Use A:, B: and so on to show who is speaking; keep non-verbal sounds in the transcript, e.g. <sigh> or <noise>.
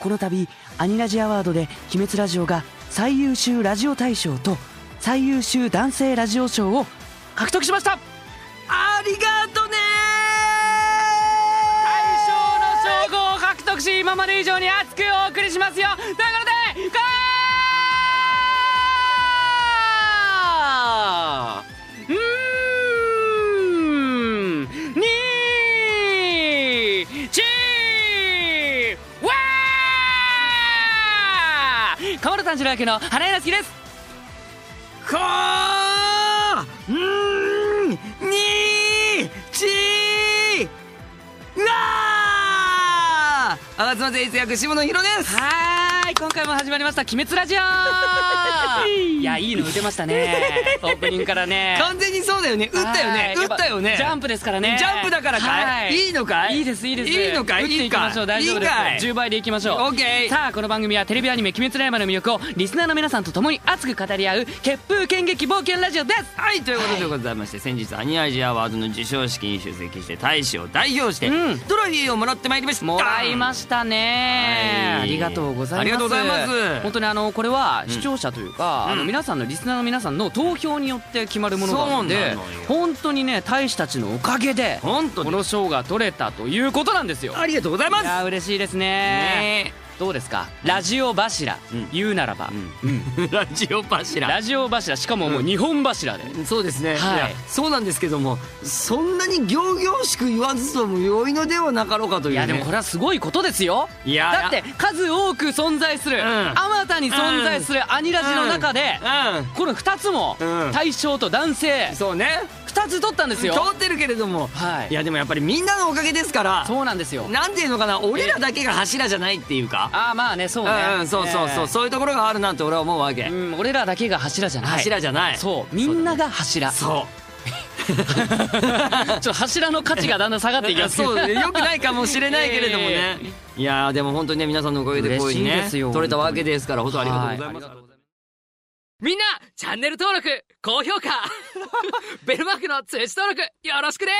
A: この度アニラジアワードで「鬼滅ラジオ」が最優秀ラジオ大賞と最優秀男性ラジオ賞を獲得しましたありがとね
B: 大賞の称号を獲得し今まで以上に熱くお送りしますよということでゴーうーんにーちーわー河村炭治郎役の花柳好きです
C: こーんにちうわー吾妻善一役下野紘です
B: はーい今回も始まりました「鬼滅ラジオ」 <laughs> いやいいの打てました <laughs> ねオープニングからね
C: 完全にそうだよね打ったよね
B: はい
C: 打ったよね
B: やぱジャンプですからね
C: ジャンプだからかいいいのかい
B: いいですいいです
C: いいのか
B: 打
C: い
B: ってい
C: い
B: き
C: か
B: ましょう大丈夫です
C: いいかい
B: 10倍でいきましょう
C: オッケー
B: さあこの番組はテレビアニメ「鬼滅の刃」の魅力をリスナーの皆さんと共に熱く語り合う血風剣劇冒険ラジオです
C: はいということでございまして、先日アニアジアワードの授賞式に出席して大使を代表して、
B: うん
C: トロフィーをもらってまいりました
B: もらいましたね、あ
C: はい
B: りがとうございます
C: ありがとうございます
B: 本当にあのこれは視聴者というか、
C: うん
B: あの皆さんのリスナーの皆さんの投票によって決まるものなの
C: そう
B: で
C: なのよ
B: 本当にね大使たちのおかげで
C: 本当
B: こ
C: に
B: の賞が取れたということなんですよ
C: ありがとうございま
B: い
C: す
B: や嬉しいですね
C: ね
B: どうですかラジオ柱、
C: うん
B: 言うならば、
C: ラジオ柱
B: ラジオ柱しかももう日本柱で、
C: そうですね、
B: はい
C: いやそうなんですけどもそんなに仰々しく言わずとも良いのではなかろうかという、
B: い
C: ね、
B: やでもこれはすごいことですよ
C: いや
B: だって数多く存在する
C: ん
B: あまたに存在するアニラジの中で、この2つも
C: うん
B: 大賞と男性
C: うんそうね
B: 2つ取ったんです
C: 通
B: よ
C: ってるけれども、
B: はい
C: やでもやっぱりみんなのおかげですから
B: そうなんですよ
C: なんていうのかな俺らだけが柱じゃないっていうか
B: ああまあねそうね
C: うんうんそうそうそう、
B: ね
C: そういうところがあるなって俺は思うわけ、
B: うん俺らだけが柱じゃない
C: 柱じゃない
B: そうみんなが柱ちょ
C: そ
B: っと柱の価値がだんだん下がっ
C: う
B: ていきますけど
C: <laughs> そうよくないかもしれないけれどもね、いやーでも本当にね皆さんのおかげでこういうふ
B: 嬉し
C: うに
B: い
C: ね
B: ですよ
C: 取れたわけですから本当ありがとうございます、
B: はい
D: みん
B: <laughs>
D: な、チャンネル登録、高評価、ベルマークの通知登録、よろしくね